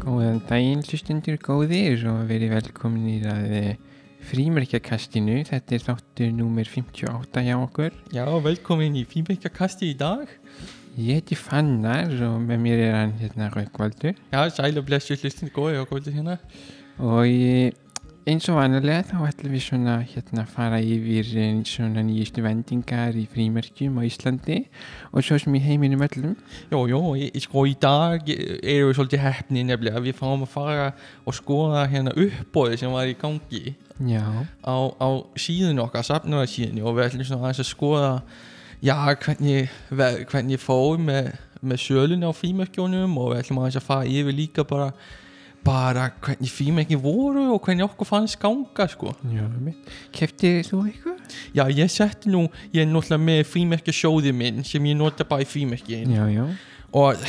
Góðan daginn, hlustendur góðir og verið velkomin í að frímerkjakastinu. Þetta er þáttur númer 58 hjá okkur. Já, velkomin í Fýmengjakasti í dag. Ég heiti Fannar og með mér er hann hérna Rökkvaldur Já, sæl og blessu hlustin góði og góði hérna. og ég, eins og vanalega þá ætlum við svona hérna fara yfir eh, svona nýjustu vendingar í frímerkjum á Íslandi og svo sem í heiminum öllum. Jó, jó, ég, sko í dag eru við svolítið hefni nefnilega. Við fáum að fara og skoða hérna uppbóði sem var í gangi Já, á, á síðun okkar, safnararsíðunni og við ætlum svona aðeins að skoða já, hvernig, ver- hvernig fór með, með sölun á frímerkjónum og við ætlum aðeins að fara yfir líka bara bara hvernig frímerkin voru og hvernig okkur fannst ganga sko. já, mitt. Keftir þú eitthvað? Já, ég setti nú, ég er náttúrulega með frímerkjasjóði minn sem ég nota bara í frímerkin Já, já. og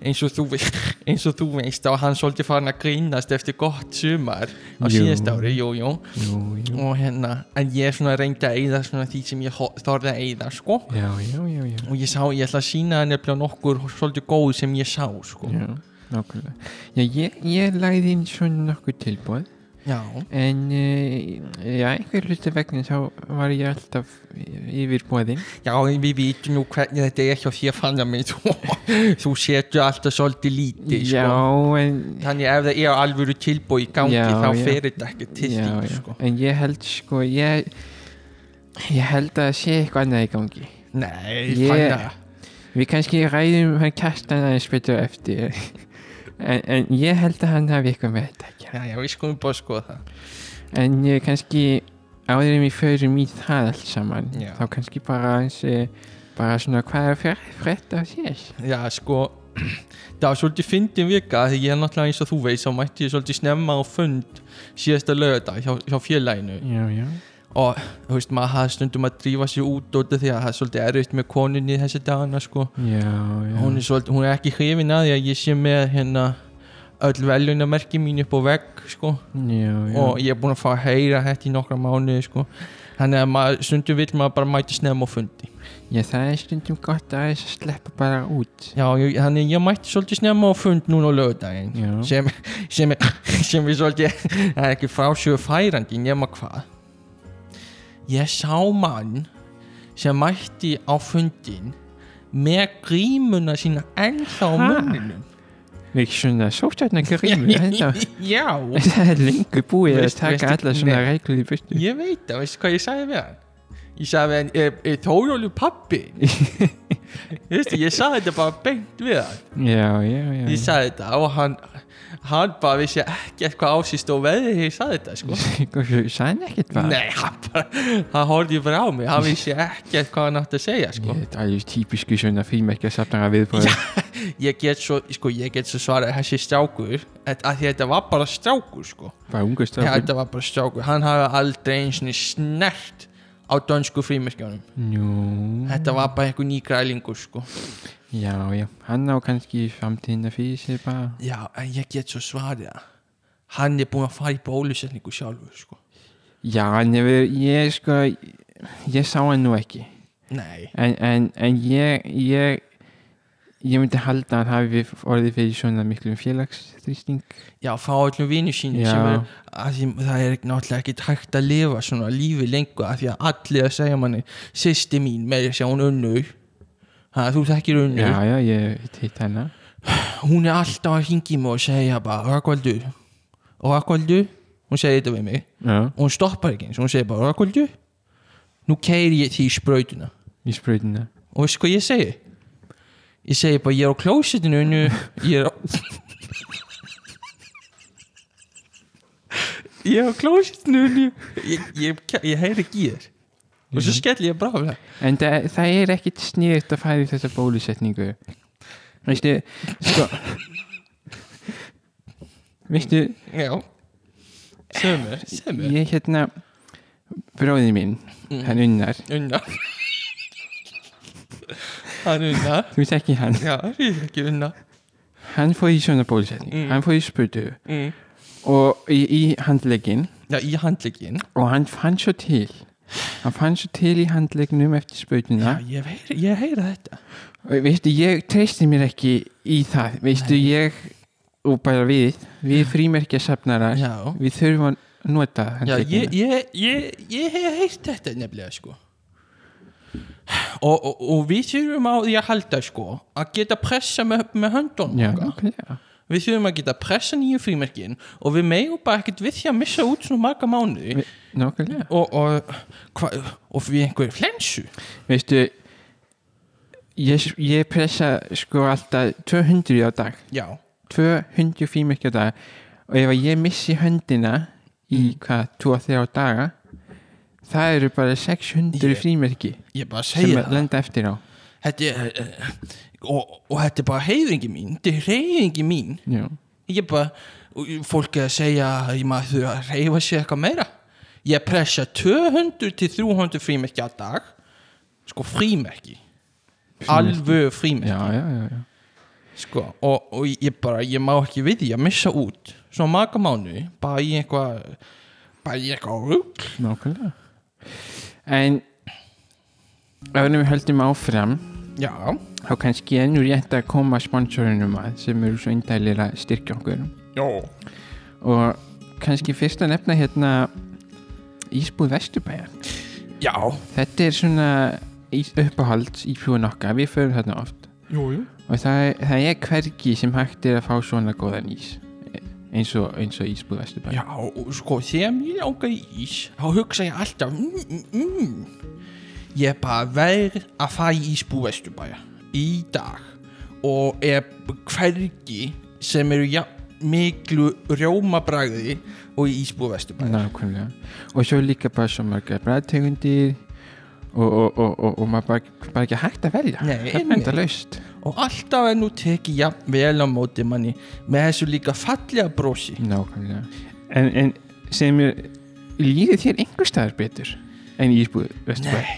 eins og þú, veist- eins og þú veist þá er hann svolítið farin að grínast eftir gott sumar á Jú. síðast ári, jú, jú Jú, jú. og hérna, en ég er svona reyndi að eyða svona því sem ég ho- þorði að eyða, sko Já, já, já, já. og ég sá, ég ætla að sína hann nefnilega nokkur svolítið góð sem ég sá, sko Já, nákvæmlega. Já, ég, ég lagði inn svona nokkuð tilbúið Já, en uh, já, einhver hluti vegna þá var ég alltaf yfir bóðin. já, við vitum nú hvernig þetta er hjá því að fanna mig þú, þú setur alltaf svolítið lítið, sko Já, en, Þannig ef það er alvöru tilbúi í gangi Já, þá já. fer þetta ekki til já, því já, sko. en ég held sko, ég, ég held að sé eitthvað annað í gangi. Nei, Ég- yeah. Við kannski ræðum hann kastan aðeins betur eftir en, en ég held að hann hafi eitthvað með þetta ekki. já, já, við skulum bara skoða það En ég kannski áður en við förum í það allt saman Já. þá kannski bara eins eh, bara svona hvað er að frétta af sér Já, sko það var svolítið fyndin vika því ég er náttúrulega eins og þú veist þá mætti ég svolítið snemma á fund síðasta lögða hjá, hjá félaginu Já, já og þú veist, maður hafði stundum að drífa sér út út af því að það er svolítið erfitt með konunni þessi dagana sko Já, já hún, er svolítið, hún er ekki hrifin að því að ég sé með hérna öll velunamerki mín upp á vegg sko Já, já og ég er búin að fá að heyra þetta í nokkra mánuði sko. þannig að maður, stundum vill maður bara mæti snemma á fundi Já, það er stundum gott aðeins að sleppa bara út já, ég, þannig að ég mætti svolítið snemma á fund núna á lögudaginn Já, sem, sem, er- sem við svolítið það er ekki frásjöðu færandi nema hvað ég sá mann sem mætti á fundin með grímuna sína ennþá á Ha? munninum við svona sóttarna grímur þetta já, Það er lengur búið Veist- að taka veistu- alla svona nei. reglur í byrtu ég veit það, veistu hvað ég sagði við hann ég sagði við hann, er, er Tójólu pappi veistu, ég sagði þetta bara beint við hann Já, já, já ég sagði þetta og hann hann bara vissi ekkert hvað ásist og veðið þegar ég sagði þetta sko Þú sagði hann ekkert bara Nei, hann bara, hann horfði bara á mig, hann vissi ekkert hvað hann átti að segja, sko. Ég er alveg típisku svona fílmekja safnara viðbúið Ég get svo, sko, ég get svo svarað þessi strákur, að, að því þetta var bara strákur, sko. Bara ungu Já, strákur þetta var bara strákur, hann hafði aldrei eins og snert á dönsku frímerkjónum. Nú Þetta var bara einhver ný grælingur, sko. Já, já, hann á kannski framtíðina fyrir sér bara. Já, en ég get svo svarið að hann er búinn að fara í bólusetningu sjálfur, sko. Já, en ég, ég sko, ég sá hann nú ekki. Nei. En, en, en ég, ég, ég myndi halda að hann hafi orðið fyrir svona miklu félagsþrýsting. Já, fá öllum vinnu sínum Já. sem er, að því, það er ekki- náttúrulega ekki hægt að lifa svona lífi lengur af því að allir að segja manni sýsti mín með þess að hún unnur ha, þú þekkir unnur, Já, já, ég hitt hitt hana. hún er alltaf að hingi mig og segja bara Rakvaldur Rakvaldur, hún segir þetta við mig Já, og hún stoppar ekki eins og hún segir bara Rakvaldur nú keiri ég því í sprautuna í spröðina. og veistu hvað ég segi ég segi bara ég er á klósitinu unnu ég er á ég er á klósitinu unnu ég, ég, ég heyri ekki í þér og svo skell ég bara á það En það, það er ekkit snýrt að fara í þessa bólusetningu. Veistu, sko... Veistu, já sömu, sömu ég hérna, bróðið minn, hann unnar, unna hann unna þú tekki hann. já, ég er ekki unna hann fór í svona bólusetning Mm. hann fór í spötu mm. og í, í handlegin já, í handlegin og hann fann svo til hann fann svo til í handleginum eftir spötuna já, ég heyri, ég heyri þetta og veistu, ég treysti mér ekki í það veistu, ég og bara við, við frímerkja safnarar Já, við þurfum að nota já handritin ég, ég, ég, ég hef heyrt þetta nefnilega sko og, og, og við þurfum á því að halda sko að geta pressa með, með höndunum já, okkar. ok, já. við þurfum að geta pressa nýju frímerkin og við megum bara ekkert við því að missa út svona marga mánuði Vi- nákvæmlega og, og, og, og við einhverjum flensu veistu ég, ég pressa sko alltaf 200 á dag já, 200 frímerkja á dag og ef að ég missi höndina í hvað, 2-3 daga það eru bara 600 Ég- frímerki ég bara sem segja að lenda eftir á þetta er, eh, og, og þetta er bara heiðingi mín þetta er heiðingi mín já, ég bara, og fólk er að segja að ég maður þurfa að reyfa sig eitthvað meira ég pressa 200 til 300 frímerki að dag sko frímerki alvög já, frímerki já, já, já. sko, og, og ég bara, ég má ekki við því að missa út svona marga mánu, bara í eitthvað bara í eitthvað rugl nákvæmlega en ef við höldum áfram já, þá kannski ennur rétt að koma sponsorunum að sem eru svo indælir að styrkja okkur já, og kannski fyrst að nefna hérna Ísbúð Vesturbæjar já þetta er svona ís- uppáhalds íbúðun okkar, við förum þarna oft jú, jú og það, er- það er hvergi sem hægt er að fá svona góðan ís eins og, eins og Ísbúð Vesturbæjar Já, og sko, þegar mér langar í ís þá hugsa ég alltaf mm, mm, mm. ég er bara verð að fara í ísbú vesturbæja í dag og er hvergi sem eru ja, miklu rjómabræði og í ísbú vesturbæja Nákvæmlega og svo líka bara svo margar bræðtegundir og, og, og, og, og maður bara, bara ekki hægt að velja Nei, það er einmitt. enda laust og alltaf er nú tekið jafn vel á móti manni með þessu líka fallega brosi Nákvæmlega En, en sem er, líður þér einhver staðar betur en í Ísbúð Vesturbæ Nei,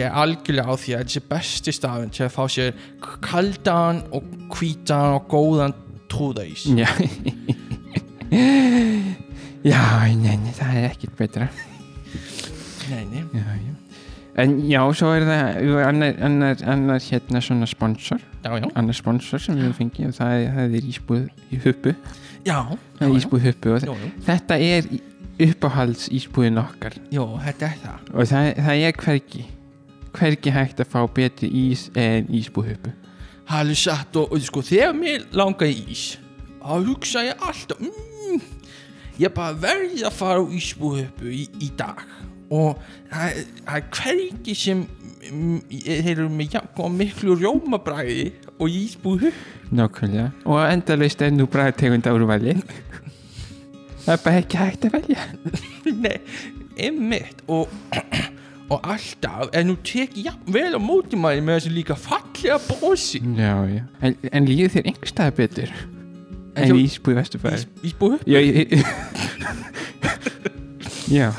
ég er algjörlega á því að þetta er besti stafinn til að fá sér k- kaldan og hvítan og góðan trúðaís Já Já, nei, nei, það er ekkert betra Nei, nei já, já. En já, svo er það jú, annar, annar, annar hérna svona sponsor Já, já. annar sponsor sem við fengi og það er, það er Ísbúð í huppu Já, það er Ísbúð huppu og Jú, jú. þetta er í- uppáhalds Ísbúðin okkar Jó, þetta er það. og það, það er hvergi hvergi hægt að fá betri ís en Ísbúð huppu Það er alveg satt og, og sko, þegar mér langar í ís, þá hugsa ég alltaf, mm, ég bara verði að fara á ísbúhöpu í, í dag. Og það er- það er hvergi sem mm, þeir eru með jafn og miklu rjómabræði og ísbúhöpu. Nákvæmlega Og endalaust er nú bræðtegund áruvali Það er bara ekki hægt að velja Nei, einmitt. Og, og alltaf, en nú tek ég jafn vel á móti maður með þessu líka fallega brosi. Já, já En, en líður þér einhver staðar betur En En hjá- í Ísbúi Vesturbæði Ís, ísbúhöpu. Já, ég Já,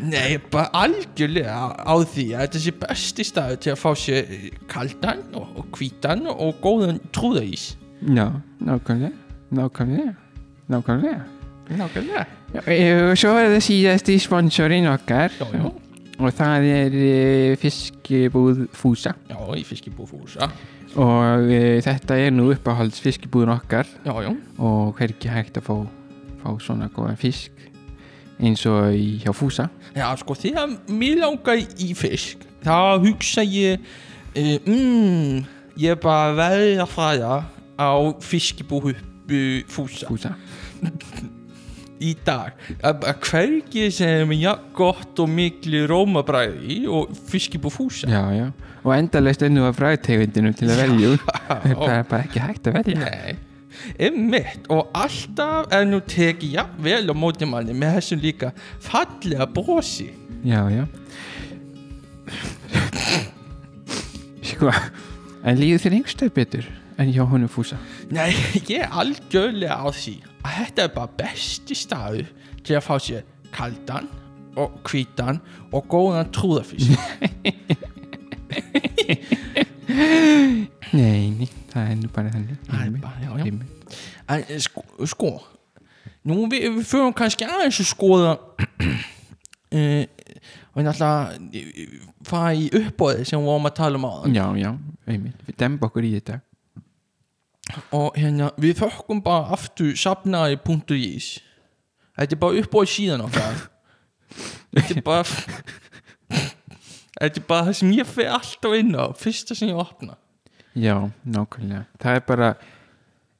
Nei, ég er bara algjörlega á því að þetta sé besti staður til að fá sér kaldan og, og hvítan og góðan trúðaís. já, nákvæmlega Nákvæmlega Nákvæmlega Nákvæmlega. Já, eh, og Svo er það síðasti sponsorinn okkar Já, já. Og það er eh, fiskibúð Fúsa Já, í fiskibú fúsa. Og e, þetta er nú uppáhalds fiskibúðin okkar Já, já. og hvergi hægt að fá, fá svona góðan fisk eins og í hjá Fúsa Já, sko, þegar mér langar í fisk, þá hugsa ég, eh, mm, ég er bara verði að fara á fiskibú fúsa Fúsa í dag. Að að Hvergi sem er jafn gott og miklu rómabræði og fiskibú fúsa. já, já. og endalaust ennú að fræðtegundinu til að velja úr. það er bara, bara ekki hægt að velja Nei, einmitt og alltaf er nú tekið jafnvel á móti manni með þessum líka fallega brosi já, já sko en líður þér einhverstað betur en hjá honum Fúsa Nei, ég er algjörlega á því að þetta er bara besti staður til að fá sér kaldan og hvítan og góðan trúðafísk nei, nei, það er nú bara þannig Það er Einmitt, bara- já, já. einmitt. En eh, sko, sko nú við, við förum kannski aðeins að skoða uh, og náttúrulega eh, fara í uppbóðið sem við varum að tala um á já, já, einmitt, við demba okkur í þetta og hérna, við þökkum bara aftur safnaði.is Þetta er bara upp á síðan okkar Þetta er bara Þetta er bara það sem ég fer alltaf inn á Fyrsta sem ég opna Já, nákvæmlega Það er bara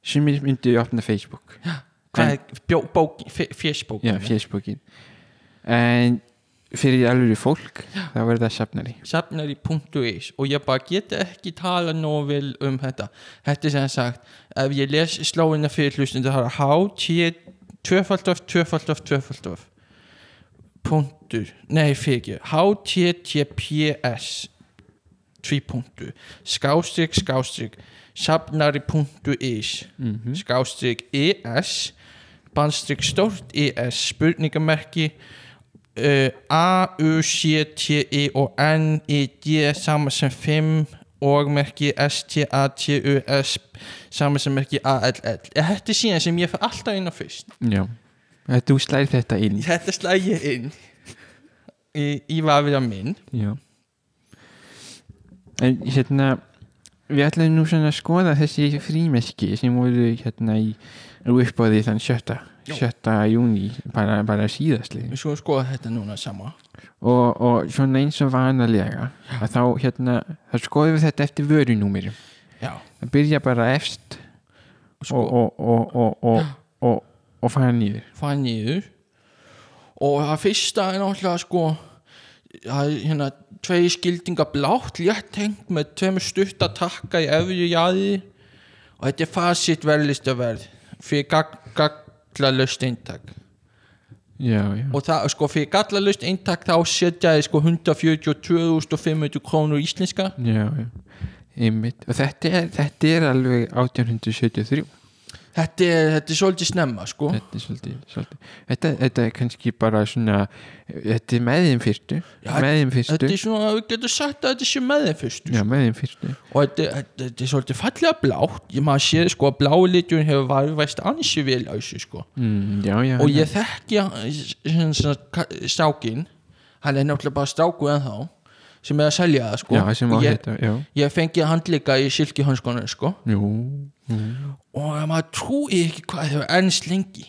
Sumir myndi opna Facebook Hvað er bjó, bók, fe- Facebook Já, Facebookin En fyrir alveg fólk þá verður það safnari safnari.is og ég bara get ekki tala nóg vel um þetta þetta er sem sagt ef ég les sláina fyrir hlustundu það er h, t, tvöfald of, tvöfald of, tvöfald of punktur, nei fyrir ekki h, t, t, p, s tví punktur skástrík, skástrík safnari.is mm -hmm. skástrík es bannstrík stórt es spurningamerki uh, A, U, C, T, I og N, I, D saman sem 5 og merki S, T, A, T, U, S saman sem merki A, L, L Eh, þetta er síðan sem ég fer alltaf inn á fyrst Já Að Þú slæðir þetta inn þetta slæg ég inn í, í vafiða minn Já En hérna Við ætlum nú svona að skoða þessi frímeski sem voru hérna í upp á því þann sjötta, Já. sjötta júni bara, bara síðastlið við skulum skoða þetta núna sama og, og svona eins og vanalega að þá hérna, þá skoðum við þetta eftir vörunúmerum já, það byrja bara efst sko, og, og, og, og, og, og, og fara nýður fara niður og það fyrsta er náttúrulega sko það er hérna tvei skildingar blátt létt hengt með tveimur stutt að takka í efri jáði og þetta er fasitt verðlistaverð fyrir gag- gallalaust eintak já, já, og það sko fyrir gallalaust eintak þá setja þið sko 142.500 krónur íslenska já, já. einmitt og þetta er, þetta er alveg 1873 þetta er, þetta er svolítið snemma sko þetta er svolítið, svolítið. Þetta, þetta er kannski bara svona þetta er með þeim fyrstu Já, með þeim þetta fyrstu er svona, við getum sagt að þetta sé með þeim fyrstu já, með þeim fyrstu og þetta, þetta, þetta er svolítið fallega blátt ég maður sé sko að blái liturinn hefur varvæst ansi vel á þessu sko mm, já, já, og ég þekki hann- svona ka- strákinn hann er náttúrulega bara stráku en þá sem er að selja það sko já, sem á og ég, þetta já, ég fengi hann líka í silkihönskonu sko jú, og maður trúi ekki hvað þau er ennst lengi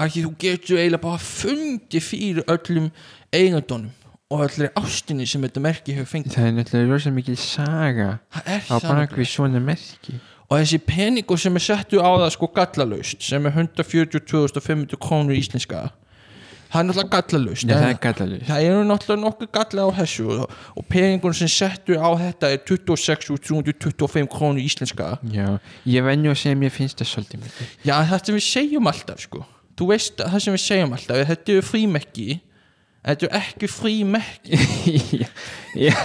af því þú getur eiginlega bara fundið fyrir öllum eigendónum og öllri ástinni sem þetta merki hefur fengið það er náttúrulega rosa mikil saga það er á það bakvið svona merki og þessi peningur sem er settu á það sko gallalaust sem er 142.500 krónur íslenska það er náttúrulega gallalaust já, það en er gallalust það eru náttúrulega nokkuð galla á þessu og, og peningur sem settu á þetta er 26.325 krónur íslenska Já, ég venju að segja að mér finnst það svolítið mikið. já það sem við segjum alltaf sko þú veist að það sem við segjum alltaf þetta eru frímekki þetta eru ekki frímekki já, já,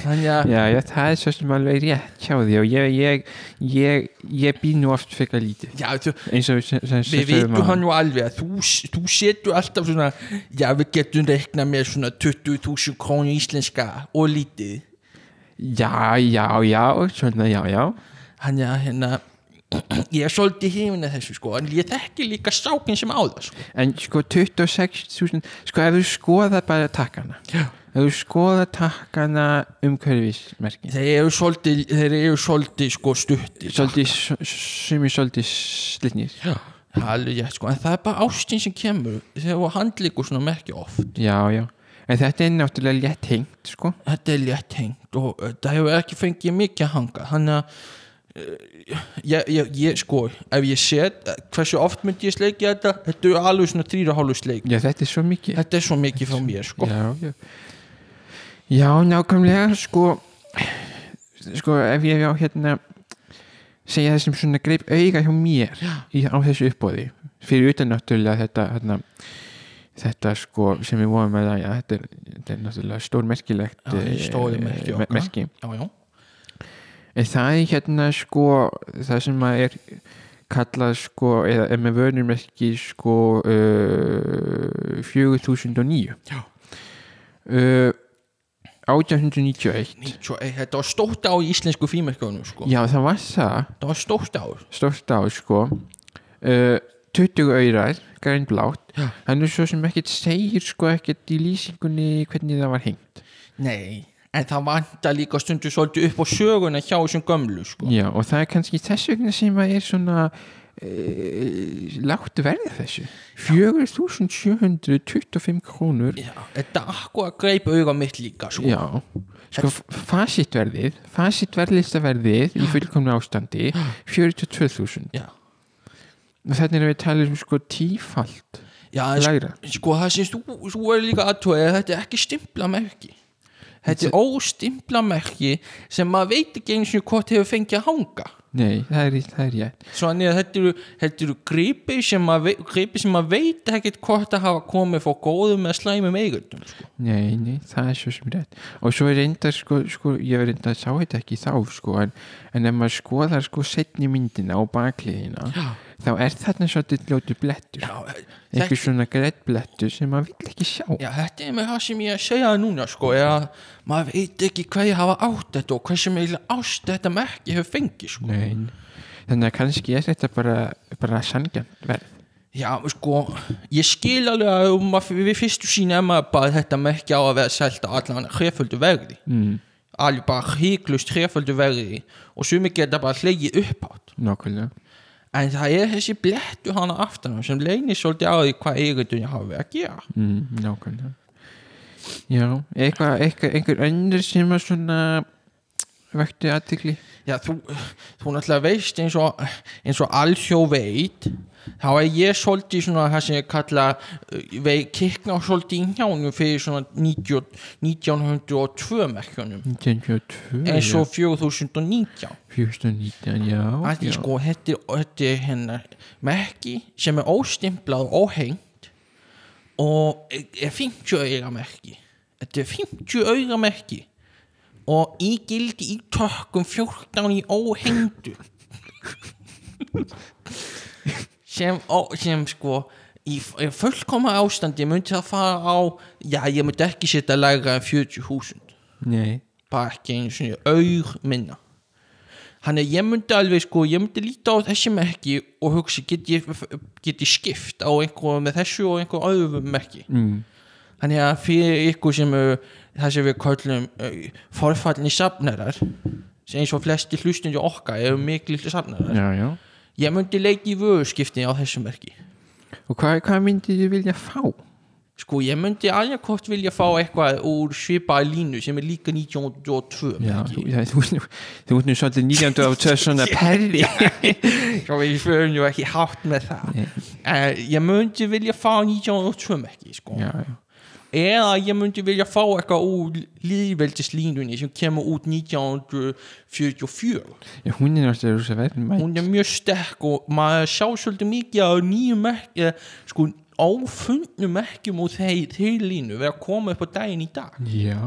þannig að já, já, það er svo sem alveg rétt hjá því og ég, ég, ég, ég býð nú oft fyrir lítið. já, þú, Eins og sem, sem, sem við veitum hann nú alveg að þú, þú setur alltaf svona já við getum reiknað með svona 20.000 krónu íslenska og lítið Já, já, já, svona, já, já. hann er hérna ég er svolítið hifin að þessu sko en ég þekki líka strákin sem á það sko. En sko 26.000, sko ef þú skoða bara takkana, ef þú skoða takkana umhverfismerkin, þeir eru svolítið þeir eru svolítið sko stuttir svolítið, sumi svolítið slitnir. Já, það er alveg ég sko en það er bara ástin sem kemur þegar þú handlíkur svona merki oft Já, já. En þetta er náttúrulega létt hengt, sko. þetta er létt hengt og uh, það hefur ekki fengið mikið að hanga þannig að uh, ég, ég, ég sko ef ég set uh, hversu oft myndi ég sleikja þetta þetta er alveg svona þrýra hálfu sleik Já, þetta er svo mikið. þetta er svo mikið frá mér sko já, já. já, nákvæmlega sko sko ef ég á hérna segja þessum svona greip auga hjá mér í, á þessu uppbóði fyrir utan náttúrulega þetta hérna, þetta sko sem við vorum með að já, þetta, er, þetta er náttúrulega stórmerkilegt eh, Já, stórmerki okkar. merki já, já, en það er hérna sko það sem að er kallað sko eða er með vörnummerki sko uh, 4009 Já. uh, 1891 Svo, ey, þetta var stórt á í íslensku frímerkjónum sko. já það var það þetta var stórt á stórt á sko uh, 20 auðrar grænblátt Já. hann er svo sem ekkert segir sko ekkert í lýsingunni hvernig það var hengt nei, en það vantar líka stundu svolítið upp á söguna hjá þessum gömlu sko. Já, og það er kannski þess vegna sem að er svona e, látt verðið þessu 4725 krónur Já, þetta akkur að greipa auga mitt líka sko. Já, sko fasitverðið fasitverðlistaverðið í fullkomna ástandi 42.000 Já. og þetta er að við tala um sko tífalt Já, en lægra sko það sést þú, þú er líka aðtóið að þetta er ekki stimplamerki þetta er óstimplamerki sem maður veit ekki eins og hvort hefur fengið að hanga Nei, það er, það er ég svo að þetta eru, þetta eru gripi sem maður vei- gripi sem maður veit ekkert hvort að hafa komið fór góðum eða slæmum eigundum sko. Nei, nei, það er svo sem rétt og svo er reyndar sko, sko ég er reyndar að sá þetta ekki þá sko en, en ef maður skoðar sko setni myndina og bakliðina Já. þá er þarna svolítið ljótu blettur já, þetta, einhver svona greitt blettur sem maður vill ekki sjá já, þetta er með það sem ég er að segja þér núna sko, er að maður veit ekki hvað ég hafa átt þetta og hversu með ást þetta merki hefur fengið sko. Nei, þannig að kannski er þetta bara, bara sangjant verð Já, sko, ég skil alveg að um að við fyrstu sína er maður bara að þetta merki á að vera selt á allan hreföldu verði mm. alveg bara híklust hreföldu verði og sumi geta bara hlegið upphátt Nákvæmlega en það er þessi blettu hana aftan á sem leynir svolítið á því hvað eigundunni hafa verið að gera mm, Nákvæmlega Já, eitthvað, eitthvað, einhver önnur sem að svona vekti aðtikli Já, þú, þú náttúrulega veist eins og, eins og allsjó veit þá er ég svolítið svona það sem ég kalla uh, kikna svolítið í hjánum fyrir svona 90, 1902 merkjunum 1922 eins og 4019 419, já, að því já. sko þetta, þetta er hennar merki sem er óstimplað og óhengt og er 50 auðra merki þetta er 50 auðra merki og í gildi í tökum 14 í óhengdu sem, ó, sem sko í f- í fullkoma ástandi myndi það fara á já ég myndi ekki setja lægra en 40.000 Nei, bara ekki einu sinni auð minna þannig að ég myndi alveg sko ég myndi líta á þessi merki og hugsa get ég, get ég skipt á einhverju með þessu og einhverju öðrum merki mm. þannig að fyrir ykkur sem uh, það sem við köllum uh, forfallni safnarar sem eins og flesti hlustundi okkar eru miklu safnarar já, já ég myndi leita í vöðuskiptin á þessu merki Og hvað, hvað myndið þið vilja fá? sko ég myndi alveg hvort vilja fá eitthvað úr svipaði línu sem er líka 1902 Já, þú, merki já, þú, þú, þú ert nú svolítið 1922 svona perri Svo Sko, við förum nú ekki hátt með það Nei. uh, Ég myndi vilja fá 1902 ekki sko. Já, já, Eða ég myndi vilja fá eitthvað úr líðveldislínunni sem kemur út 1944 já hún er náttúrulega rosa verðmætt Hún er mjög sterk og maður sjá svolítið mikið á nýjum merk eh, sko áfundnum merkjum úr þeir, þeir línu við að koma upp á daginn í dag Já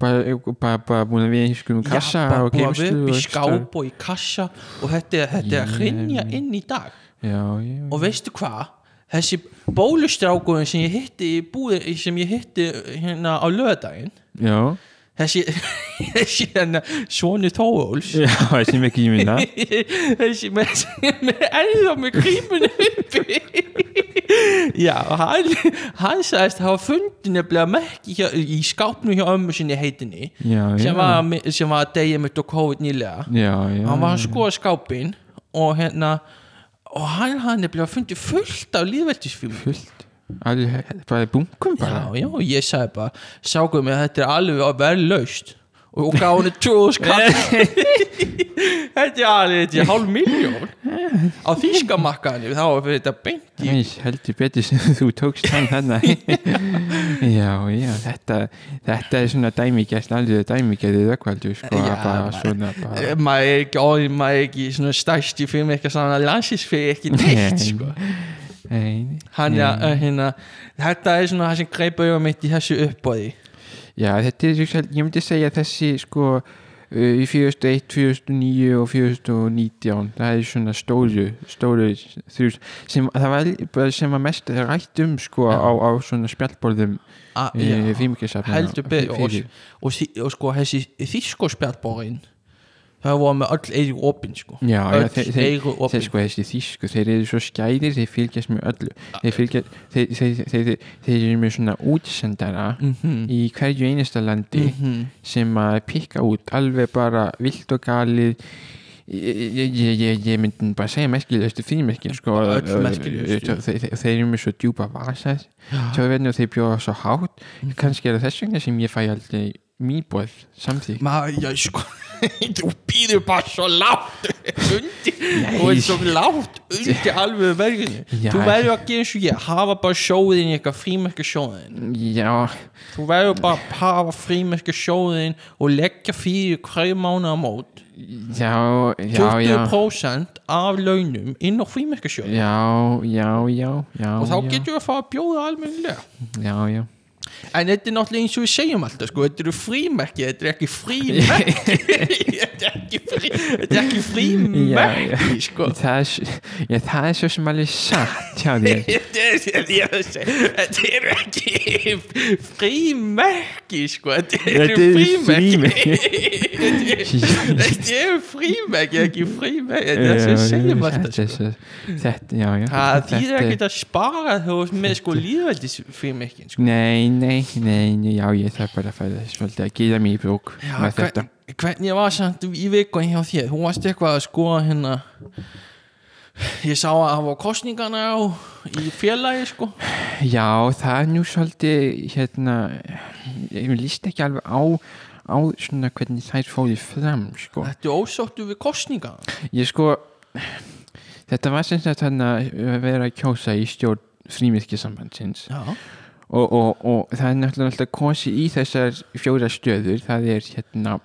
bara, e, bara, bara búin að við einhverjum kassa Já, bara og búið að geimstu vera og upp í skáp og í kassa og þetta, er- þetta er að hrinja inn í dag já, já, og veistu hvað þessi bólustrákurinn sem ég hitti í búið, sem ég hitti hérna á löðdægin já, þessi, þessi hérna Svonu Þóróls já sem ekki ég minna þessi með, með erða með grímunu uppi já, og hann hann sagðist hafa fundið nefnilega merki hjá, í skápnum hjá ömmu sinni heitinni já, já, sem var, sem var að deyja mitt og COVID nýlega já, já, hann var að skoða skápin og hérna og hann hafði nefnilega fundið fullt af líðveldisfilmum fullt alveg, bara bunkum bara Já, já, ég sagði bara Sákuðu mig að þetta er alveg vel laust Og, og gaf henni tjóðus kall Þetta er alveg Þetta er hálf miljón Á þýskamakkaðinni þá er þetta beint í Æs, heldur betur sem þú tókst hann þarna já, já, þetta þetta er svona dæmigerst alveg dæmigerðið ökvaldur sko, Já, bara bara- svona bara, maður er ekki orðin, maður er ekki svona stærsti fyrir mig eitthvað svona landsins fyrir ekki neitt Nei. sko. ein, hann er yeah. hérna þetta er svona það sem greipa yfir mitt í þessu uppbóði Já, þetta er, hugsa- ég myndi segja að þessi sko uh, í 2001, 2009 og 2019 það er svona stóru, stóru þrjús sem, það var, bara sem var mest rætt um sko á, á svona spjallborðum A- uh, já. fímikisafna heldur betur og, og, og, og sko þessi þýskospjallbórin það voru með öll eigu opinn sko. Já, já, öll þeir, þeir, eigu þeir opinn sko þessi þýsku, þeir eru svo skæðir þeir fylgjast með öllu Ah, þeir, fylgjast, þeir, þeir, þeir, þeir, þeir eru með svona útsendara Mhm. í hverju einasta landi Mhm. sem að pikka út alveg bara vilt og galið ég, ég- ég, ég, ég myndi bara segja merkilegustu frímerkin sko, Bara öll ö- ö- merkilegustu. ö- þeir, þeir, þeir eru með svo djúpa vasa þjóðverðin og þeir bjóða svo hátt Mhm. kannski er það þess vegna sem ég fæ aldrei mýbóð samþýk maður, já sko þú býður bara svo látt undir, þú er svo látt undir alveg verðinu Já. þú verður að gera eins og ég, hafa bara sjóðin í eitthvað frímerka sjóðin já, þú verður bara að hafa frímerka sjóðin og leggja fyrir hverju mánu á mót já, já já, 20% af launum inn á frímerka sjóðin já, já, já, já og þá já, getur við að fara að bjóða almennilega já, já En þetta er náttúrulega eins og við segjum alltaf sko, þetta eru frímerki, þetta er ekki frímerki Þetta er ekki frí- þetta er ekki Já, frímerki sko það er, s- já, það er svo sem alveg satt hjá þér Þetta er- ég er að segja, þetta eru ekki frímerki sko, þetta eru Þetta eru frímerki Þetta eru frímerki, ekki frímerki Þetta er það sem við segjum alltaf þetta, sko sko. þetta, já, já Það þetta þýðir er- ekki að spara þú veist, með sko líðveldisfrímerkin sko. Nei, nei, nei, nei, já, ég þarf bara að fæða svolítið að gera mig í brók Já, með hvern- þetta hvernig var samt í vikun hjá þér hún varst eitthvað að skoða hérna ég sá að það var kostningana á í félagi sko Já, það er nú svolítið hérna, ég líst ekki alveg á á svona hvernig þær fóru fram sko. þetta er ósáttu við kostningana Ég sko þetta var sem sagt hann að vera að kjósa í stjórn frímirkisambandsins já, og, og, og það er náttúrulega alltaf kosi í þessar fjóra stöður það er hérna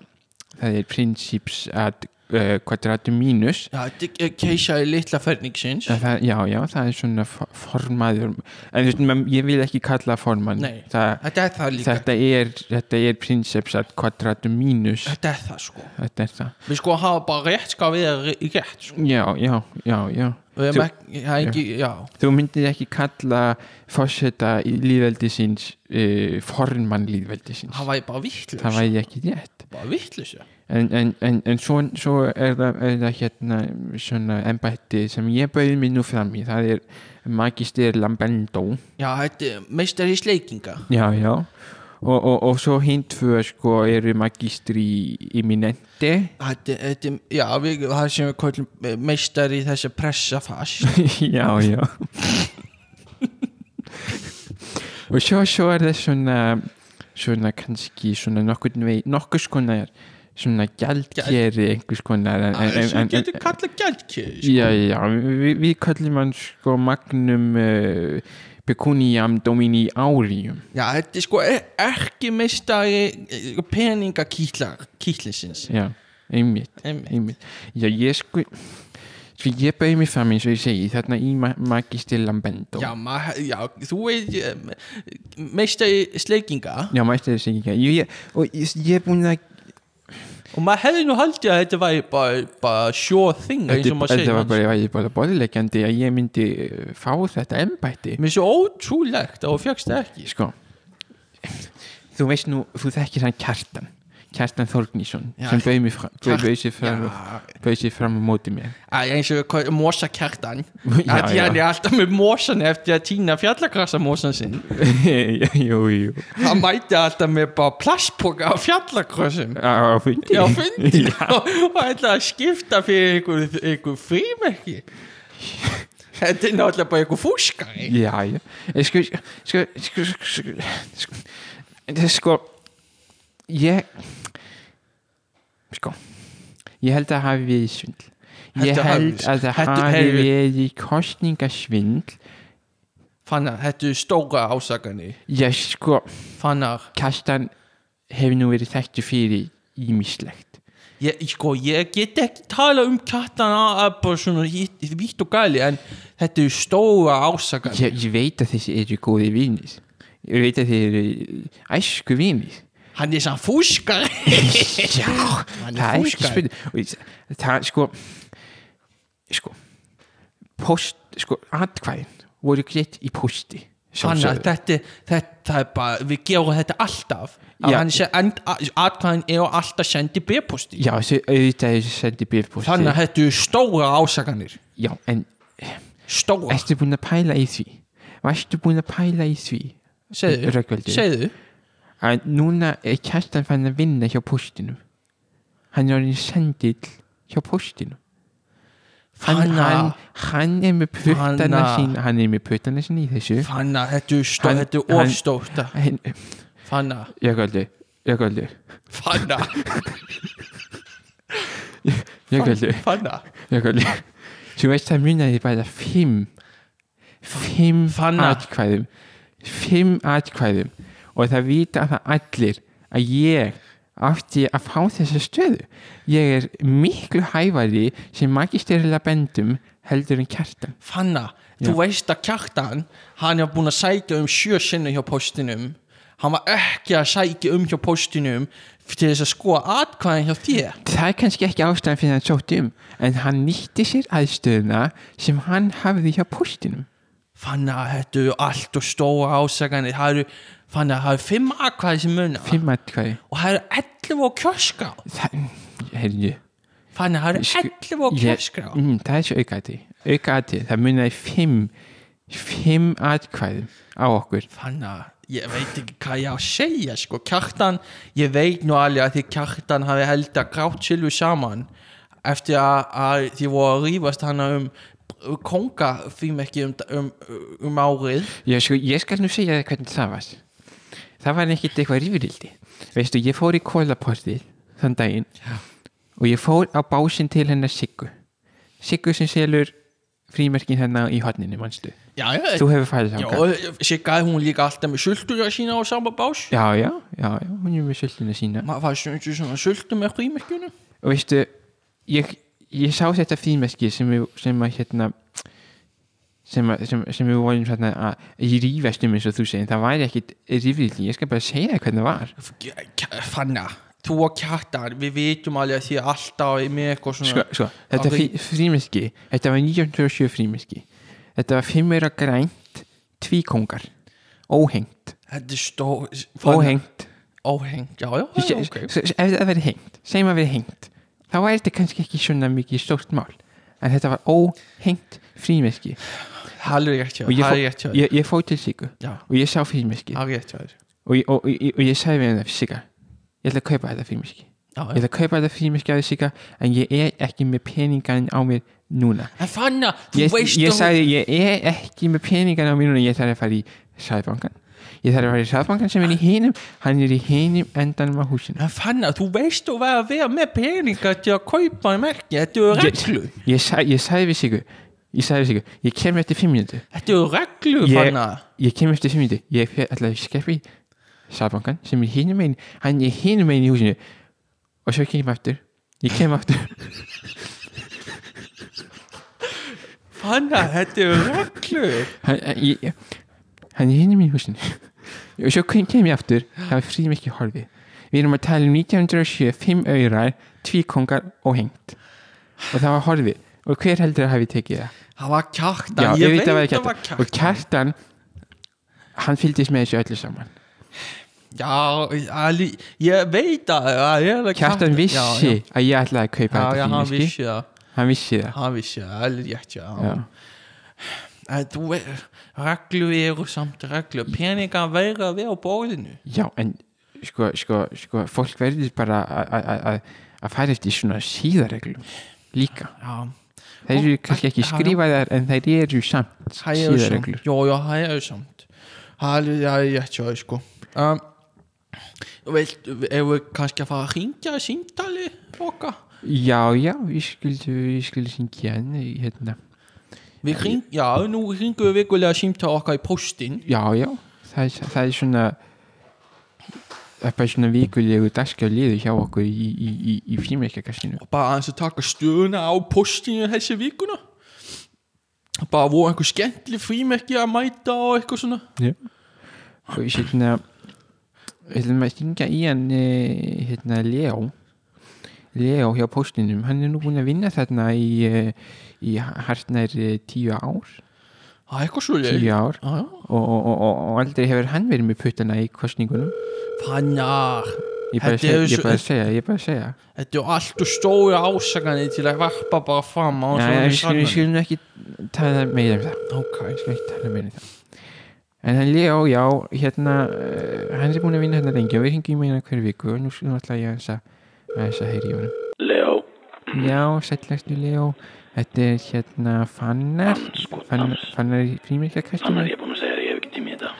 það er prinsips að uh, kvadratum mínus já þetta er keisa í litla ferningsins Það, það- já, já, það er svona fo- formaður en þú veist, menn- ég vil ekki kalla formann Nei. það, þetta er það líka þetta er, þetta er prinsips að kvadratum mínus þetta er það sko þetta er það við sko hafa bara rétt skal við er rétt sko. já, já, já, já við Þú- erum ekki, það er ekki, já þú myndir ekki kalla fórseta í líðveldi síns uh, formann líðveldi síns það væri bara vittlust það væri ekki rétt bara vittlust en, en, en, en svo, svo er, það, er það hérna svona embætti sem ég bauði mér nú fram í það er magistir Lambendó já þetta er meistari í sleikinga já, já og, og, og svo hinn tvö sko eru magistri eminente Þetta, þetta, já, við, það sem við kallum meistar í þessi pressa fast já, já og svo, svo er það svona svona kannski svona nokkurn vei, nokkurs konar svona gjaldkeri einhvers konar en, en, en, sem en, getur kallað gældkið já, já, við, við kallum hann sko magnum uh, pecuniam domini aurium Já, þetta er sko er- ekki meistari e, peningakýtlar kýtlinsins já, einmitt, Einmitt. einmitt. já, ég sko Því ég bauði mig fram eins og ég segi þarna í ma Magisti Lambendo Já, ma, já, þú veit meistari sleikinga já mætti þessi ekki Jú, ég, og ég, ég er búin að og maður hefði nú haldið að þetta væri bara, bara sure thing eins og Þetta maður þetta segir var bara, var ég bara boðilegjandi að ég myndi eh, fá þetta embætti Mér er svo ótrúlegt að þú fjöxt það ekki sko þú veist nú, þú þekkir hann Kjartan Kjartan Þorgnísson Já. sem bauð mér fram Kjart- bauð sér fram, bauð sér fram á móti mér Æ, eins og mosakertan Já, Það já. er alltaf með mosan eftir að týna fjallagrasa mosan sinn jú, jú Það mæti alltaf með bara plastpoka á fjallagrössum á, á fundi Já, fyndi og, og ætla að skipta fyrir einhver, einhver frímerki Þetta er náttúrulega bara einhver fúskari já, já Eh, sko, sko, sko, sko, sko, sko, sko ég sko ég held að hafi verið svindl ég Þetta hafi- held að það þetta- hafi heyrðu. verið kostningasvindl Fannar, þetta er stóra ásakani Já, sko, Fannar, Kastan hefur nú verið þekktu fyrir ímislegt. ég, sko, ég get ekki tala um kattana að bara svona vitt og gæli en þetta er stóra ásakani Ég, ég veit að þessi eru góði vinis. Ég veit að þeir eru æsku vinis. Hann er eh? sann fúskari Já, Hann er það er ekki fúskari. spurning. Og ég- Það, sko, sko, post, sko, atkvæðin voru greitt í posti. Þannig Sjálfsögðu. að þetta, þetta, það er bara, við gerum þetta alltaf Já. að hann sé, and, að- atkvæðin er alltaf sendið B-posti já, þessi auðvitað þessi sendi bifbústi þannig að þetta eru stóra ásakanir já, en stóra, ertu búin að pæla í því varstu búin að pæla í því segðu, Rögnvaldur. segðu að núna er kjartan fann að vinna hjá póstinum hann er orðin sendill hjá póstinum hann, hann, þannig hann er með puttana Fanna. sín hann er með puttana sín í þessu að þetta eru stóra, Hann- þetta hann- eru ofstóta þannig að, Jökuldur Jökuldur þannig að Jökuldur Fanna Jökuldur þú veist það munaði bara fimm fimm Fanna. atkvæðum fimm atkvæðum og það vita það allir að ég átti að fá þessa stöðu ég er miklu hæfari sem magistérilega bendum heldur en kjartan Fanna, þú veist að kjartan hann er búin að sækja um sjö sinni hjá postinum hann var ekki að sækja um hjá postinum til þess að skoða atkvæðin hjá þér það er kannski ekki ástæðan fyrir að hann sótti um en hann nýtti sér aðstöðuna sem hann hafði hjá póstinum Fann að þetta eru allt og stóra ásakanir það eru, fann að það eru fimm atkvæði sem muna fimm atkvæði og það eru 11 á kjörskrá það, herrju fann að það Sku- eru 11 á Ég- kjörskrá mm, það er svo aukaði aukaði, það munaði fimm fimm atkvæðum á okkur fann að ég veit ekki hvað ég á að segja sko, kjartan, ég veit nú alveg að því kjartan hafi held að grátt silfu saman eftir að, að því voru að rífast hana um konga því ekki um, um, um árið ég, sko, ég skal nú segja þér hvernig það var það var ekkert eitthvað rífurildi veistu, ég fór í kólaportið þann daginn Já. og ég fór á básinn til hennar Siggu Siggu sem selur frímerkin hennar í hodninu, manstu já, já, þú hefur farið já, þangað siggaði hún líka alltaf með sultur að sína á sama bás já, já, já, já, hún er með sultuna sína maður fær svona, svona sultu með frímerkjunum og veistu ég, ég sá þetta frímerki sem, við- sem að hérna sem, að, sem, sem við vorum svona að ég rífast um eins og þú segir það væri ekkit rífriðli, ég skal bara segja þér hvernig það var fanna, þú og kjartan við vitum alveg að því alltaf er með eitthvað svona sko, sko, þetta Á frí, frímerki þetta var 1927 frímerki þetta var fimmur að grænt tvíkongar, óhengt þetta er stó Fanna- óhengt, óhengt, já, já, Þú já sé- Ah, ok s- s- ef það verið hengt, segjum að verið hengt þá væri þetta kannski ekki svona mikið stórt mál en þetta var óhengt frímerki Það er rétt hjá og þér, ég, það fó, er rétt hjá þér. ég, ég fór til Sigur Já. og ég sá frímerki Það er rétt hjá þér. og, ég- og, og, og ég sagði við hennar Sigur, ég ætla að kaupa þetta frímerki Já, ég já. ætla að kaupa þetta frímerki að Sigur en ég er ekki með peningarinn á mér núna En fann að þú ég, veist ég að sagði ég er ekki með peningarinn á mér núna ég þarf að fara í sæðbankan ég þarf að fara í sæðbankan sem er í hinum hann er í hinum endanum á húsinu En fann að þú veist að vera að vera með peninga til að kaupa í merki. Þetta eru reglu. ég, ég, sa- ég sagði við Sigur ég sagði við Sigur, ég kem eftir fimm minútu Þetta eru reglu, ég, fann að. ég kem eftir fimm myndi ég fer alltaf í skeppi sæðbankan sem er hinum einn hann er hinum einn í húsinu og svo kem ég aftur ég kem aftur Fann að þetta eru reglu. hann, ég, ég- hann er hinum einn í húsinu og svo kem, kem ég aftur það var frím ekki horfið við erum að tala um 1907 fimm auðrar, tvíkongar og hengt og það var horfið og hver heldur að hafi tekið það Það var kjartan. Já, ég auðvitað veit að var það var Kjartan. og kjartan. kjartan hann fylgdist með þessu öllu saman Já, Ali, ég veit að það er alveg Kjartan vissi Já, já. að ég ætlaði að kaupa Já, já, þetta hann fínu vissi það. hann vissi það Hann vissi það, alveg rétt, já. já. En þú veist, reglu eru samt reglu. Peninga verður að vera á bóðinu. já, en sko, sko, sko fólk verður bara að- að- að- að- að fara eftir svona síðareglum líka Já, Þeir eru kannski ekki Já, já. skrifaðar en þeir eru samt Það er ju samt, síðareglur já, já, það er ju samt Það er alveg- það er rétt hjá þér, sko um, Vilt, ef við kannski að fara að ringja í síndali okkar Já, já, ég skildi, ég skildi syngja hann í hérna Við hring, já, nú hringum við vikulega símtala okkar í póstinn Já, já, það er, það er svona það er bara svona vikulegu dagskjáliðu hjá okkur í, í, í, í frímerkjakassinu og bara aðeins að taka stöðuna á póstinu þessi vikuna Bara voru einhver skemmtileg frímerki að mæta og eitthvað svona og ég hérna ég ætlum að syngja í hann eh, hérna Leo Leo hjá postinum, hann er nú búin að vinna þarna í, eh, í hartnær eh, tíu ár Það er eitthvað svo leik tíu ár Já, já. og, og, og, og, og aldrei hefur hann verið með puttana í kostningunum Þannig ég bara Þetta er seg- ég svo- bara segja, ég bara segja Þetta er allt og stóri ásakani til að varpa bara fram á Nei, við skulum- svona við skulum ekki tala meira um það Ok Við skulum ekki tala meira um það En hann Leo, já, hérna uh, hann er búin að vinna hérna lengi og við hengjum hérna hverju viku og nú skulum alltaf ég aðeins að aðeins að heyri í honum Leo, Já, sællastu Leo Þetta er hérna Fannar sko, Fannar, Fannar í annar frímerkjarkastinu ég er búin að segja þér, ég hef ekki tími í þetta.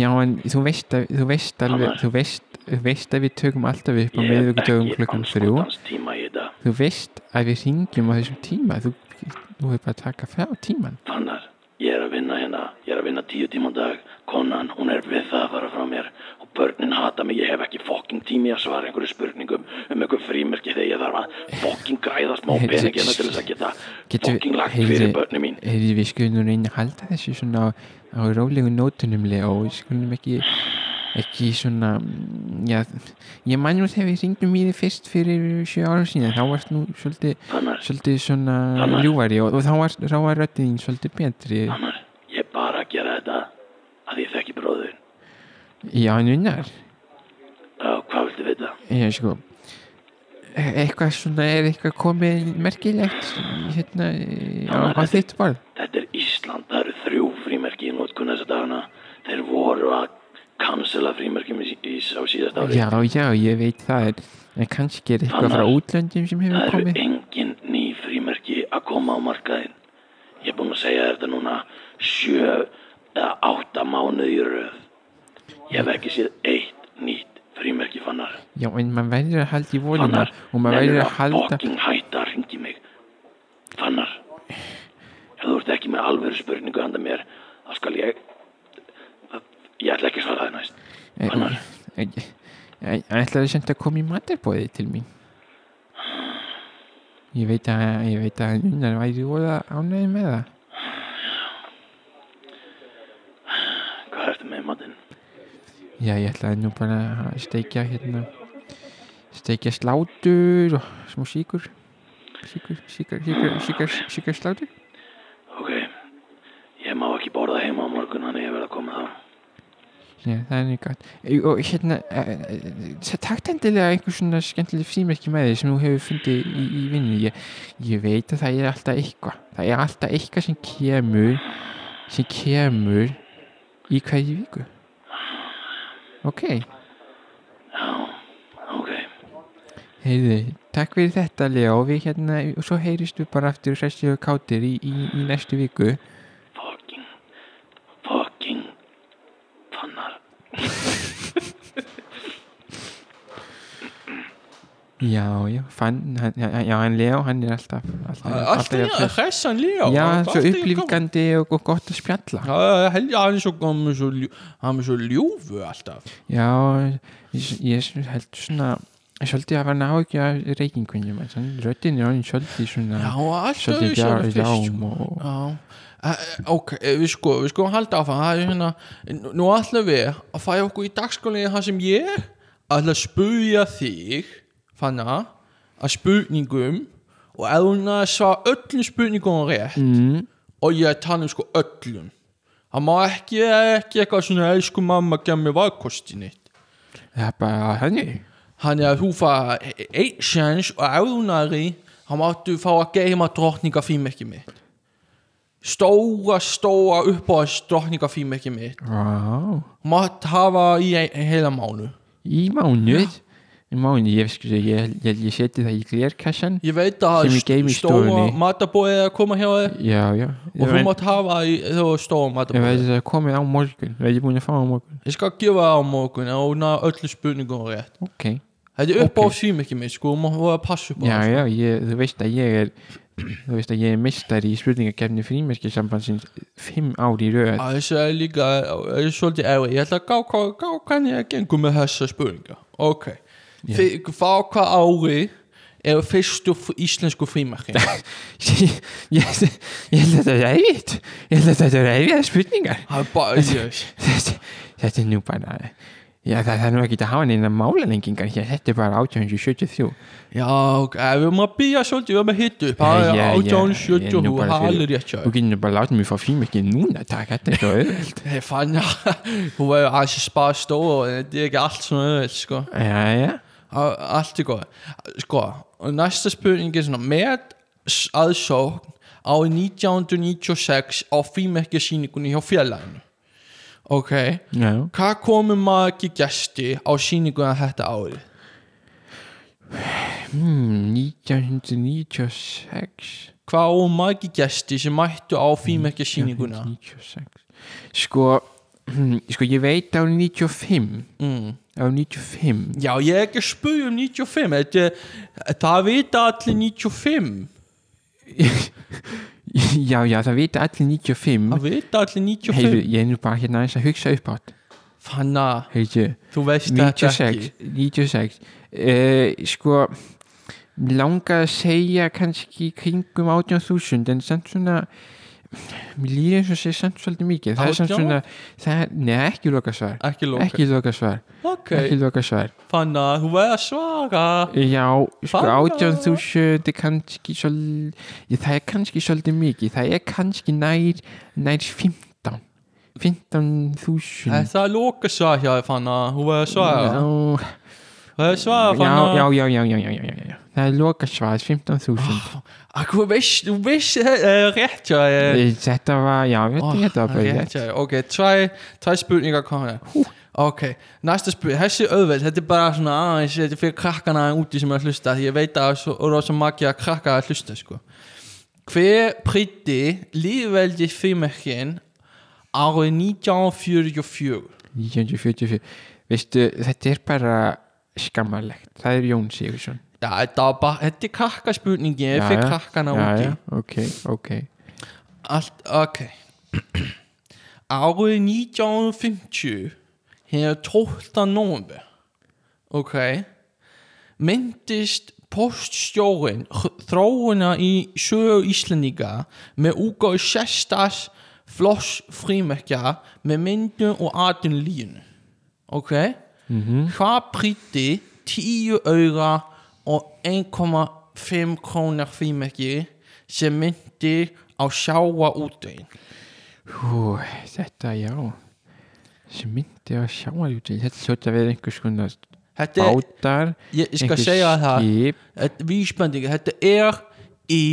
Já, en þú veist að þú veist alveg, þú veist, þú veist að við tökum alltaf upp á Ég hef miðvíkutögum ekki klukkan þrjú andskotans tíma í þetta. Þú veist að við hringjum á þessum tíma þú, þú hefur bara að taka frá tíman Fannar, ég er að vinna hérna, ég er að vinna tíu tíma á dag. Konan, hún er við það að fara frá mér. Og börnin hata mig, ég hef ekki fokking tími að svara einhverju spurningum um einhver frímerki þegar ég þarf að fokking græða smá Heyrðu, peningina til þess að geta Getum fokking lagt heyrðu- fyrir börnin mín. heyrðu, við skulum nú reyna að halda þessu svona á, á rólegu nótunum Leo, og við skulum ekki ekki svona mm, já, ég man nú þegar við hringdum í þið fyrst fyrir sjö árum síðan þá varst nú svolítið, Fannar, svolítið svona Fannar. ljúvari og, og þá var, þá var röddinn svolítið betri Fannar, ég er bara að gera þetta að ég þekki bróður. já, en unnar Já, hvað viltu vita? ég sko e- eitthvað svona, er eitthvað komið merkilegt hérna í- á, á þitt borð Þetta er Ísland, það eru þrjú frímerki í nótkun þessa dagana. Þeir voru að cancela frímerkjum í, í, á síðast ári. já, já, ég veit það en, en kannski er eitthvað frá Fannar. útlöndum sem það hefur eru komið engin ný frímerki að koma á markaðinn. Ég er búinn að segja þér þetta núna sjö eða átta mánuð í röð. Ég hef ekki séð eitt nýtt frímerki fannar. Já, en maður verður að halda í volina Fannar, og maður verður nennirðu að halda fucking hætta að ringi mig. Fannar, ef þú ert ekki með alveg spurningu handa mér, þá skal ég... Ég ætla ekki að svara það næst. eh, Fannar. ætlaði sem eh, að koma í matarbóði til mín Ég veit að ég veit að Unnar væri voða ánæði með það Hvað ertu með matinn? Já, ég ætlaði nú bara að steikja hérna steikja slátur og smá síkur síkur, síkur, síkur, síkur, síkur slátur Ok, ég má ekki borða heima á morgun, þannig ég verð að koma þá. Já, það er mjög gott Ey, og hérna, eh, eh, takt endilega einhver svona skemmtileg frímerki með því sem þú hefur fundið í, í vinnu ég, ég veit að það er alltaf eitthvað það er alltaf eitthvað sem kemur sem kemur í hverju viku ok, Já, ok. heyrðu takk fyrir þetta Leo við hérna, og svo heyrist við bara aftur hressið og kátir í, í, í næstu viku Fucking, fucking, fannar. já, já, fann, hann, já, hann Leo hann er alltaf alltaf, Alltaf jafn ég hress. hressan líka Já, hann er svo alltaf í gangi. upplýfgandi og og gott að spjalla Já, já, hel- já, hann er svo, hann er svo, ljú- hann er svo ljúfu alltaf Já, ég, ég held svona Svolítið að hann á ekki að reykingunum Röddin er hann svolítið svona Já, alltaf Svolítið já, öðruvísi en fyrst, sko. rám og, og, Já, Eh, ok, eh, við sko, við sko halda áfram það er hérna, nú- Nú ætlum við að færa okkur í dagskólinni það sem ég ætla að spurja þig fanna að spurningum og ef hún að svara öllum spurningum rétt mm, og ég er að tala um sko öllum það má ekki, ekki eitthvað svona elsku mamma gef mér valkosti neitt Það er bara þannig þannig að þú fara einn sjans og ef þú næri þá máttu fá að geima drottninga fímekki mitt stóra, stóra uppáðast drottninga fímekki mitt Vá, mátt hafa í ein, heila mánu í mánuð Í mánuð, ég veist ég, ég, ég, ég seti það í glerkassan ég veit að Sem ég geymi í stóra stofunni. matabóið er að koma hjá þér Já, já og þú Ég mátt hafa í þú stóra ég veit matabóið að það er komið á morgun Það er ég búin að fá á morgun ég skal gefa það á morgun og hún hafa öllu spurningum rétt Ok, þetta er uppáðast fímekki mitt sko, þú mátt hafa að passa upp á já, það, sko. já, ég, þú veist að ég er Þú veist að ég er mistar í spurningakefni frímerkisambandsins Fimm ár í röð Það er líka, það er svolítið erfið, ég ætla að gá, gá, gá hvernig ég gengur með þessa spurninga. Ok, yeah. frá hvað ári eru fyrstu f- íslensku frímerkin? ég, ég, ég held að þetta er erfitt ég held að þetta er erfiða spurningar Það er bara, ég, þetta, þetta er nú bara Já, það, það er nú ekki að hafa neina málalengingar hér, þetta er bara 1873. Já, ok, ef við maður býja svolítið, við erum að hitta upp Það Já, já, já, er ég er nú 1870 og bara fyrir- halur ég Þú tjóð getur nú bara að láta mig fá frímerki núna, takk, þetta er svo auðveld. Ég fann að hún var aðeins að spara stóra og þetta er ekki allt svona öðvöld, sko Já, já. Á- Allt er góð Sko, og næsta spurning er svona Með s- aðsókn á 1996 á frímerkjasýningunni hjá félaginu Ok, Já. hvað komum margir gesti á sýninguna þetta árið? Hmm, 1996. Hvað á margir gesti sem mættu á frímerkjasýninguna? 96 sko, hm, sko ég veit á 95 Mm. á 95 Já, ég er ekki að spyrja um 95 þetta, er- Það vita allir 95 já já það vita allir 95 Það vita allir 95 Heyru, ég er nú bara hérna aðeins að hugsa upp átt Fanna, Heyru, þú veist þetta 96 ekki 96 uh, sko mig langar að segja kannski í kringum 18.000 en samt svona mér líður eins og segja samt svolítið mikið það er samt 18? svona það, neða ekki loka svar Ekki lóka ekki loka svar Ok, ekki loka svar Fanna, þú verður að svara Já, sko Bara- átján þúsund er kannski svolítið, það er kannski svolítið mikið, það er kannski nær, nær 15, 15 þúsund. Þetta er lóka svar hjá þér, Fanna Þú verður að svara Já, Þú verður að svara já, Fanna já, já, já, já, já, já, já, já, það er loka svar, 15 þúsund. Ah, Akkur veist, þú veist uh, rétt hjá þér Eh, Þetta var, já, Ó, þetta þetta var bara Oh, rétt rétt. hjá þér. Ok, tvær tvær spurningar komna Ok, næsta spurning, þessi auðveld Þetta er "Ah, bara svona aðeins, þetta er fyrir krakkana úti sem er að hlusta Því ég veit að það er rosa magi að krakka að hlusta sko. Hver prýtti lífveldi frímerkin árið 1944 1944, veistu, þetta er bara skammarlegt, það er Jón Sigursson. Já, þetta var bara, þetta er krakkaspurningin Já, fyrir já. krakkana Já, úti já, ok, ok. Allt, ok Árið 1950 Hér 12. november Ok Myndist poststjórin þróuna í sögu Íslendinga með úgóð sestas floss frímerkja með myndum og aðunlíun ok hvað prýtti 10 auga og 1,5 krónar frímerki sem myndi á sjáa útvein Hú, þetta, já, sem myndi að sjá að júti, þetta hljóta að vera einhvers konar þetta er bátar Ég- ég skal einhver segja þér það. skip. þetta- vísbending, þetta er í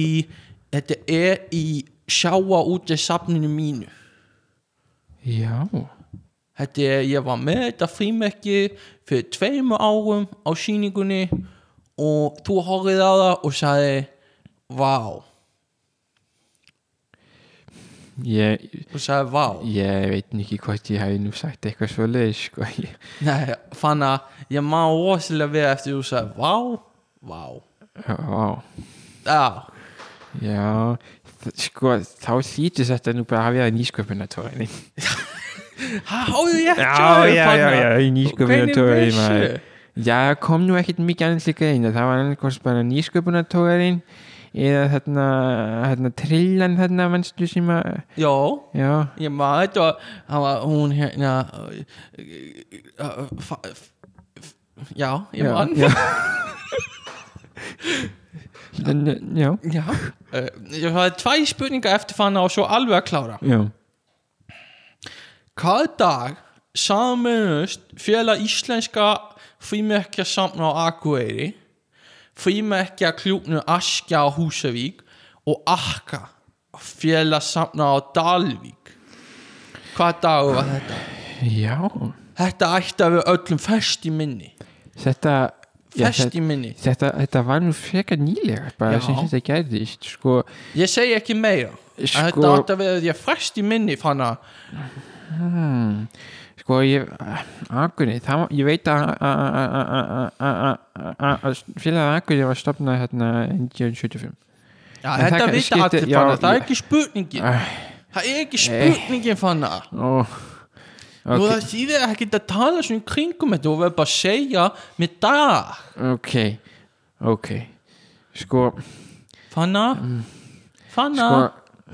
þetta er í sjáa úti safninu mínu já, Þetta er, ég var með þetta frímerki fyrir tveimu árum á síningunni og þú horfið á það og sagði Vá, ég, þú sagði vá ég veit nú ekki hvort ég hafi nú sagt eitthvað svo leið sko. Ég- Nei, fann að ég má rosalega vera eftir þú sagði vá, vá já, Já, já þ- sko, þá hlýtur þetta nú bara að hafa það í nýsköpunartórinni hæ, hóðu já, ég já, já, já, í Hvernig nýsköpunartórinni vissu? já, kom nú ekkit mikið annars líka einn það var annars hvort bara nýsköpunartórin eða þarna, þarna trillan þarna mannstu sem að Já, já, ég maður þetta var, hann var, hún hérna uh, uh, uh, fa- f- f- Já, ég já, maður já. En, já, Já, uh, ég hafði tvæ spurningar eftir fanna og svo alveg að klára já. Hvað dag saminust félag íslenska frímerkja samna á Akureyri frímerkja kljúknu Askja á Húsavík og Akka félag samna á Dalvík Hvað dag var þetta? Já, Þetta ætti að vera öllum fest í minni þetta já, Fest þetta, í minni þetta, þetta var nú frekar nýlega bara Já. sem þetta gerðist sko, Ég segi ekki meira Sko- sko... Þetta átti að vera því að fest í minni fanna hmm, sko ég Akurni, það, var- ég veit að að- að- að- að- að- að- að- að félag Akurni var stopnað hérna 1975 Já, En þetta það vita skipti- allir já, fanna, það er ég- ekki spurningin Æ. Það er ekki spurningin fanna Ó, Nú ok, það þýðir ekki að tala svona í kringum þetta og verður bara að segja með dag ok ok sko, Fanna Fanna Mm. sko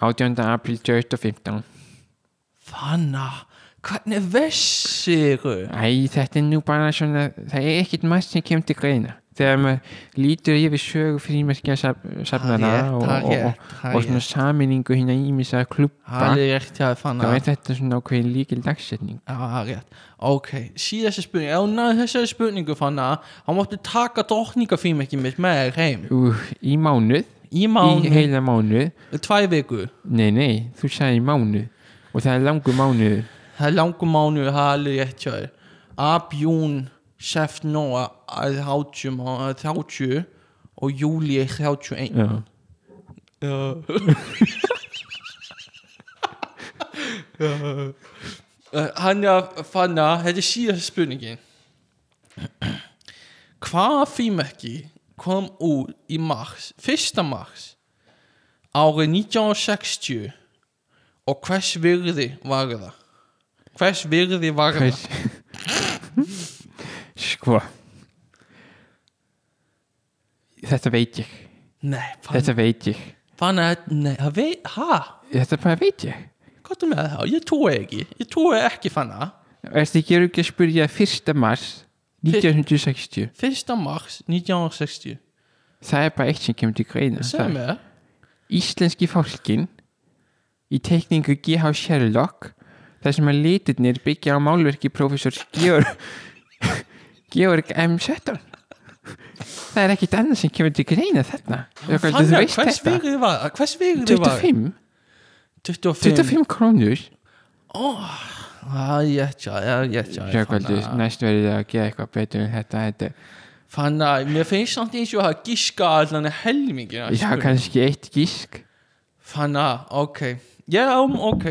18. apríl 2015 Fanna Hvernig vessiru? Æ, þetta er nú bara svona, það er ekkert margt sem kemur til greina. Þegar maður lítur yfir sögu frímerkja safnana Það er rétt, og, það er og, rétt, og, það er og svona rétt. saminningu hérna ímissa klubba, Það er rétt hjá þér fann þá að er þetta svona ákveðin líkil dagsetning. Já, það er rétt Ok, síðasta spurning Ef hún náði þessari spurningu fann að Hann máttu taka drottningafím ekki mitt með þér heim Ú, í mánuð, Í mánu, í heila mánuð, tvær viku nei, nei, þú sagði í mánuð og það er langur mánuð. Það er langur mánu, það er alveg rétt hjá þér Ab, jún, seft, nóa 30 má- 30 og júli 31 Já. Já. Já. Hann er að Eh, fanna Þetta er síðasta spurningin Hvaða fímekki kom út í mars Fyrsta mars Árið 1960 Og hvers virði var það Hvers virði var það Hvers... sko, þetta veit ég, Nei, fann, þetta veit ég, fann að Nei, það veit, hæ? þetta bara veit ég. Hvað er með það? um Ég trúi ekki Ég trúi ekki fann að Ertu ekki örugglega að spyrja 1. mars 1960 Fyrsta mars 1960 Það er bara eitt sem kemur til greina Segð Það- mér það Íslenski fólkin í teikningu G.H. Sherlock þar sem að litirnir byggja á málverki professors Georg Georg M. Svetton Það er ekkit annað sem kemur til greina þarna Þú Þannig að veist hvers þetta. virði var það? Hvers virði var 25 25 25 krónur Það er rétt já, Ah, það er rétt já Sjökvöldur, næst verður það að gera eitthvað betur en þetta, þetta Þannig að mér finnst samt eins og að giska allan helmingina Ég hafa kannski eitt gísk Þannig að, ok Já, um, ok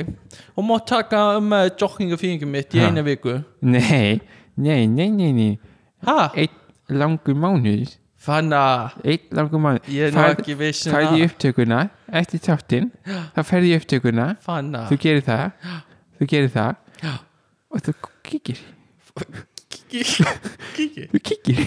Hún má taka um uh, joggingafíðingum mitt í Ha. eina viku Nei, nei, nei, nei, nei Hæ? Eitt langur mánuð Þannig að Eitt langur mánuð Ég er nú ekki viss um Færði það. upptökuna Eftir þáttinn Þá færði upptökuna Þannig Þú gerir það Þú gerir það Já. Og þú kikir að Kiki Þú kikir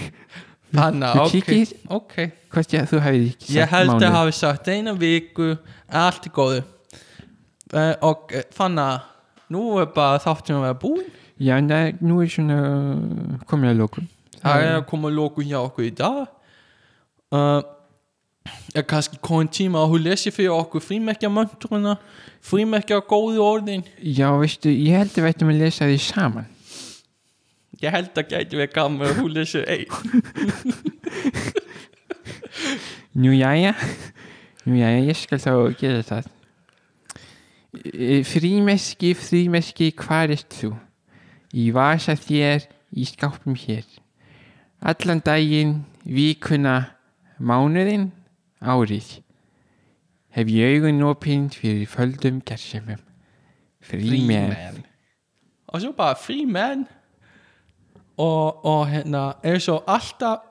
Þannig Þú að, ok kíkir- Ok Hvort ég að þú hefði ekki Ég sagt held mánuð. að hafi sagt eina viku Allt í góðu uh, Og þannig að Nú er bara þáttum að vera búin Já, næ, nú er svona Komið að lókum Það Mm. er að koma að lókun hjá okkur í dag uh, Ég er kannski komin tíma að hún lesi fyrir okkur frímerkja mönduruna frímerkja góðu orðin Já, veistu, ég held að veitum að lesa því saman Ég held að gæti við gaman að hún lesi einn Nú, jæja Nú, jæja, ég skal þá gera það E, Frímeski, frímeski, hvar ert þú? Í vasa þér, í skápum hér Allan daginn, vikuna, mánuðinn, árið Hef ég augun opinn fyrir földum gersemum Frímen Og svo bara frímen og, og hérna eins og alltaf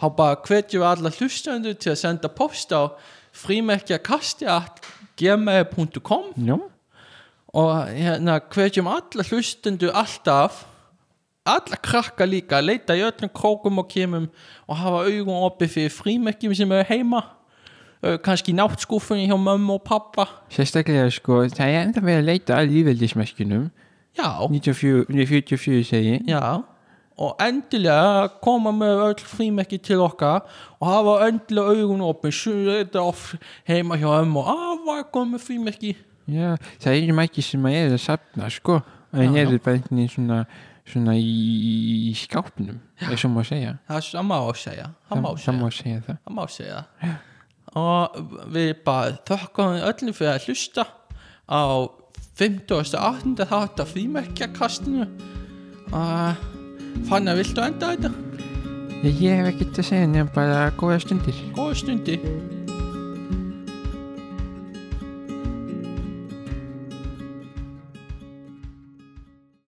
þá bara hvetjum við alla hlustendur til að senda post á frímerkja Nú, og hérna hvetjum alla hlustendur alltaf alla krakka líka að leita í öllum krókum og kemum og hafa augum opið fyrir frímerkjum sem eru heima Ö, kannski í náttskúfunni hjá mömmu og pappa sérstaklega sko Það er enda verið að leita að lífveldismeskunum já, 1944 segi ég. já og endilega koma með öll frímerki til okkar og hafa endilega augun opið þetta off heima hjá ömmu og afa komið frímerki Já, það eru mækið sem að er að safna sko, en Já, já. eru bara einhvern veginn svona, svona í, í, í skápnum, eins og má segja það er sama á að segja það má Það- segja það má segja það það má segja það og við bara þökkum öllum fyrir að hlusta á 58. þátt af frímerkjakastinu og fann að viltu enda þetta Ég hef ekkert að segja nefn bara góða stundir góða stundi